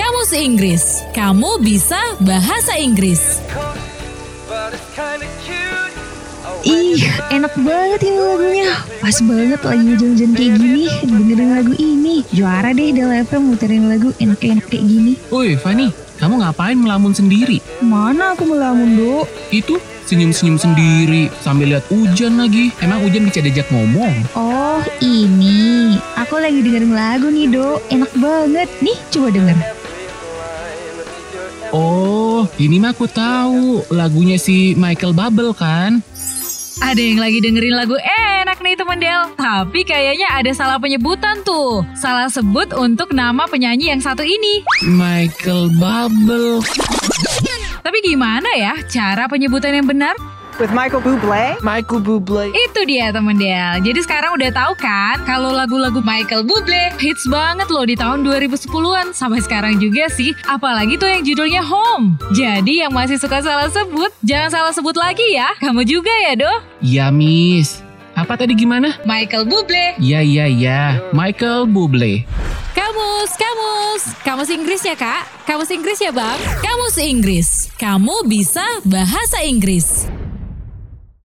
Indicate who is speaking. Speaker 1: Kamus Inggris. Kamu bisa bahasa Inggris.
Speaker 2: Ih, enak banget ini lagunya. Pas banget lagi hujan-hujan kayak gini, dengerin lagu ini. Juara deh Del FM muterin lagu enak-enak kayak gini.
Speaker 3: Woi, Fani, kamu ngapain melamun sendiri?
Speaker 2: Mana aku melamun, Dok?
Speaker 3: Itu senyum-senyum sendiri sambil lihat hujan lagi. Emang hujan bisa diajak ngomong?
Speaker 2: Oh, ini. Aku lagi dengerin lagu nih, Dok. Enak banget. Nih, coba denger.
Speaker 3: Oh, ini mah aku tahu lagunya si Michael Bubble kan?
Speaker 1: Ada yang lagi dengerin lagu enak nih temen Del. Tapi kayaknya ada salah penyebutan tuh. Salah sebut untuk nama penyanyi yang satu ini.
Speaker 3: Michael Bubble.
Speaker 1: Tapi gimana ya cara penyebutan yang benar?
Speaker 4: with Michael Bublé.
Speaker 5: Michael Bublé.
Speaker 1: Itu dia temen Del. Jadi sekarang udah tahu kan kalau lagu-lagu Michael Bublé hits banget loh di tahun 2010-an sampai sekarang juga sih. Apalagi tuh yang judulnya Home. Jadi yang masih suka salah sebut, jangan salah sebut lagi ya. Kamu juga ya, Doh.
Speaker 3: Ya, Miss. Apa tadi gimana?
Speaker 1: Michael Bublé.
Speaker 3: Ya, ya, ya. Michael Bublé.
Speaker 1: Kamus, kamus. Kamus Inggris ya, Kak? Kamus Inggris ya, Bang? Kamus Inggris. Kamu bisa bahasa Inggris.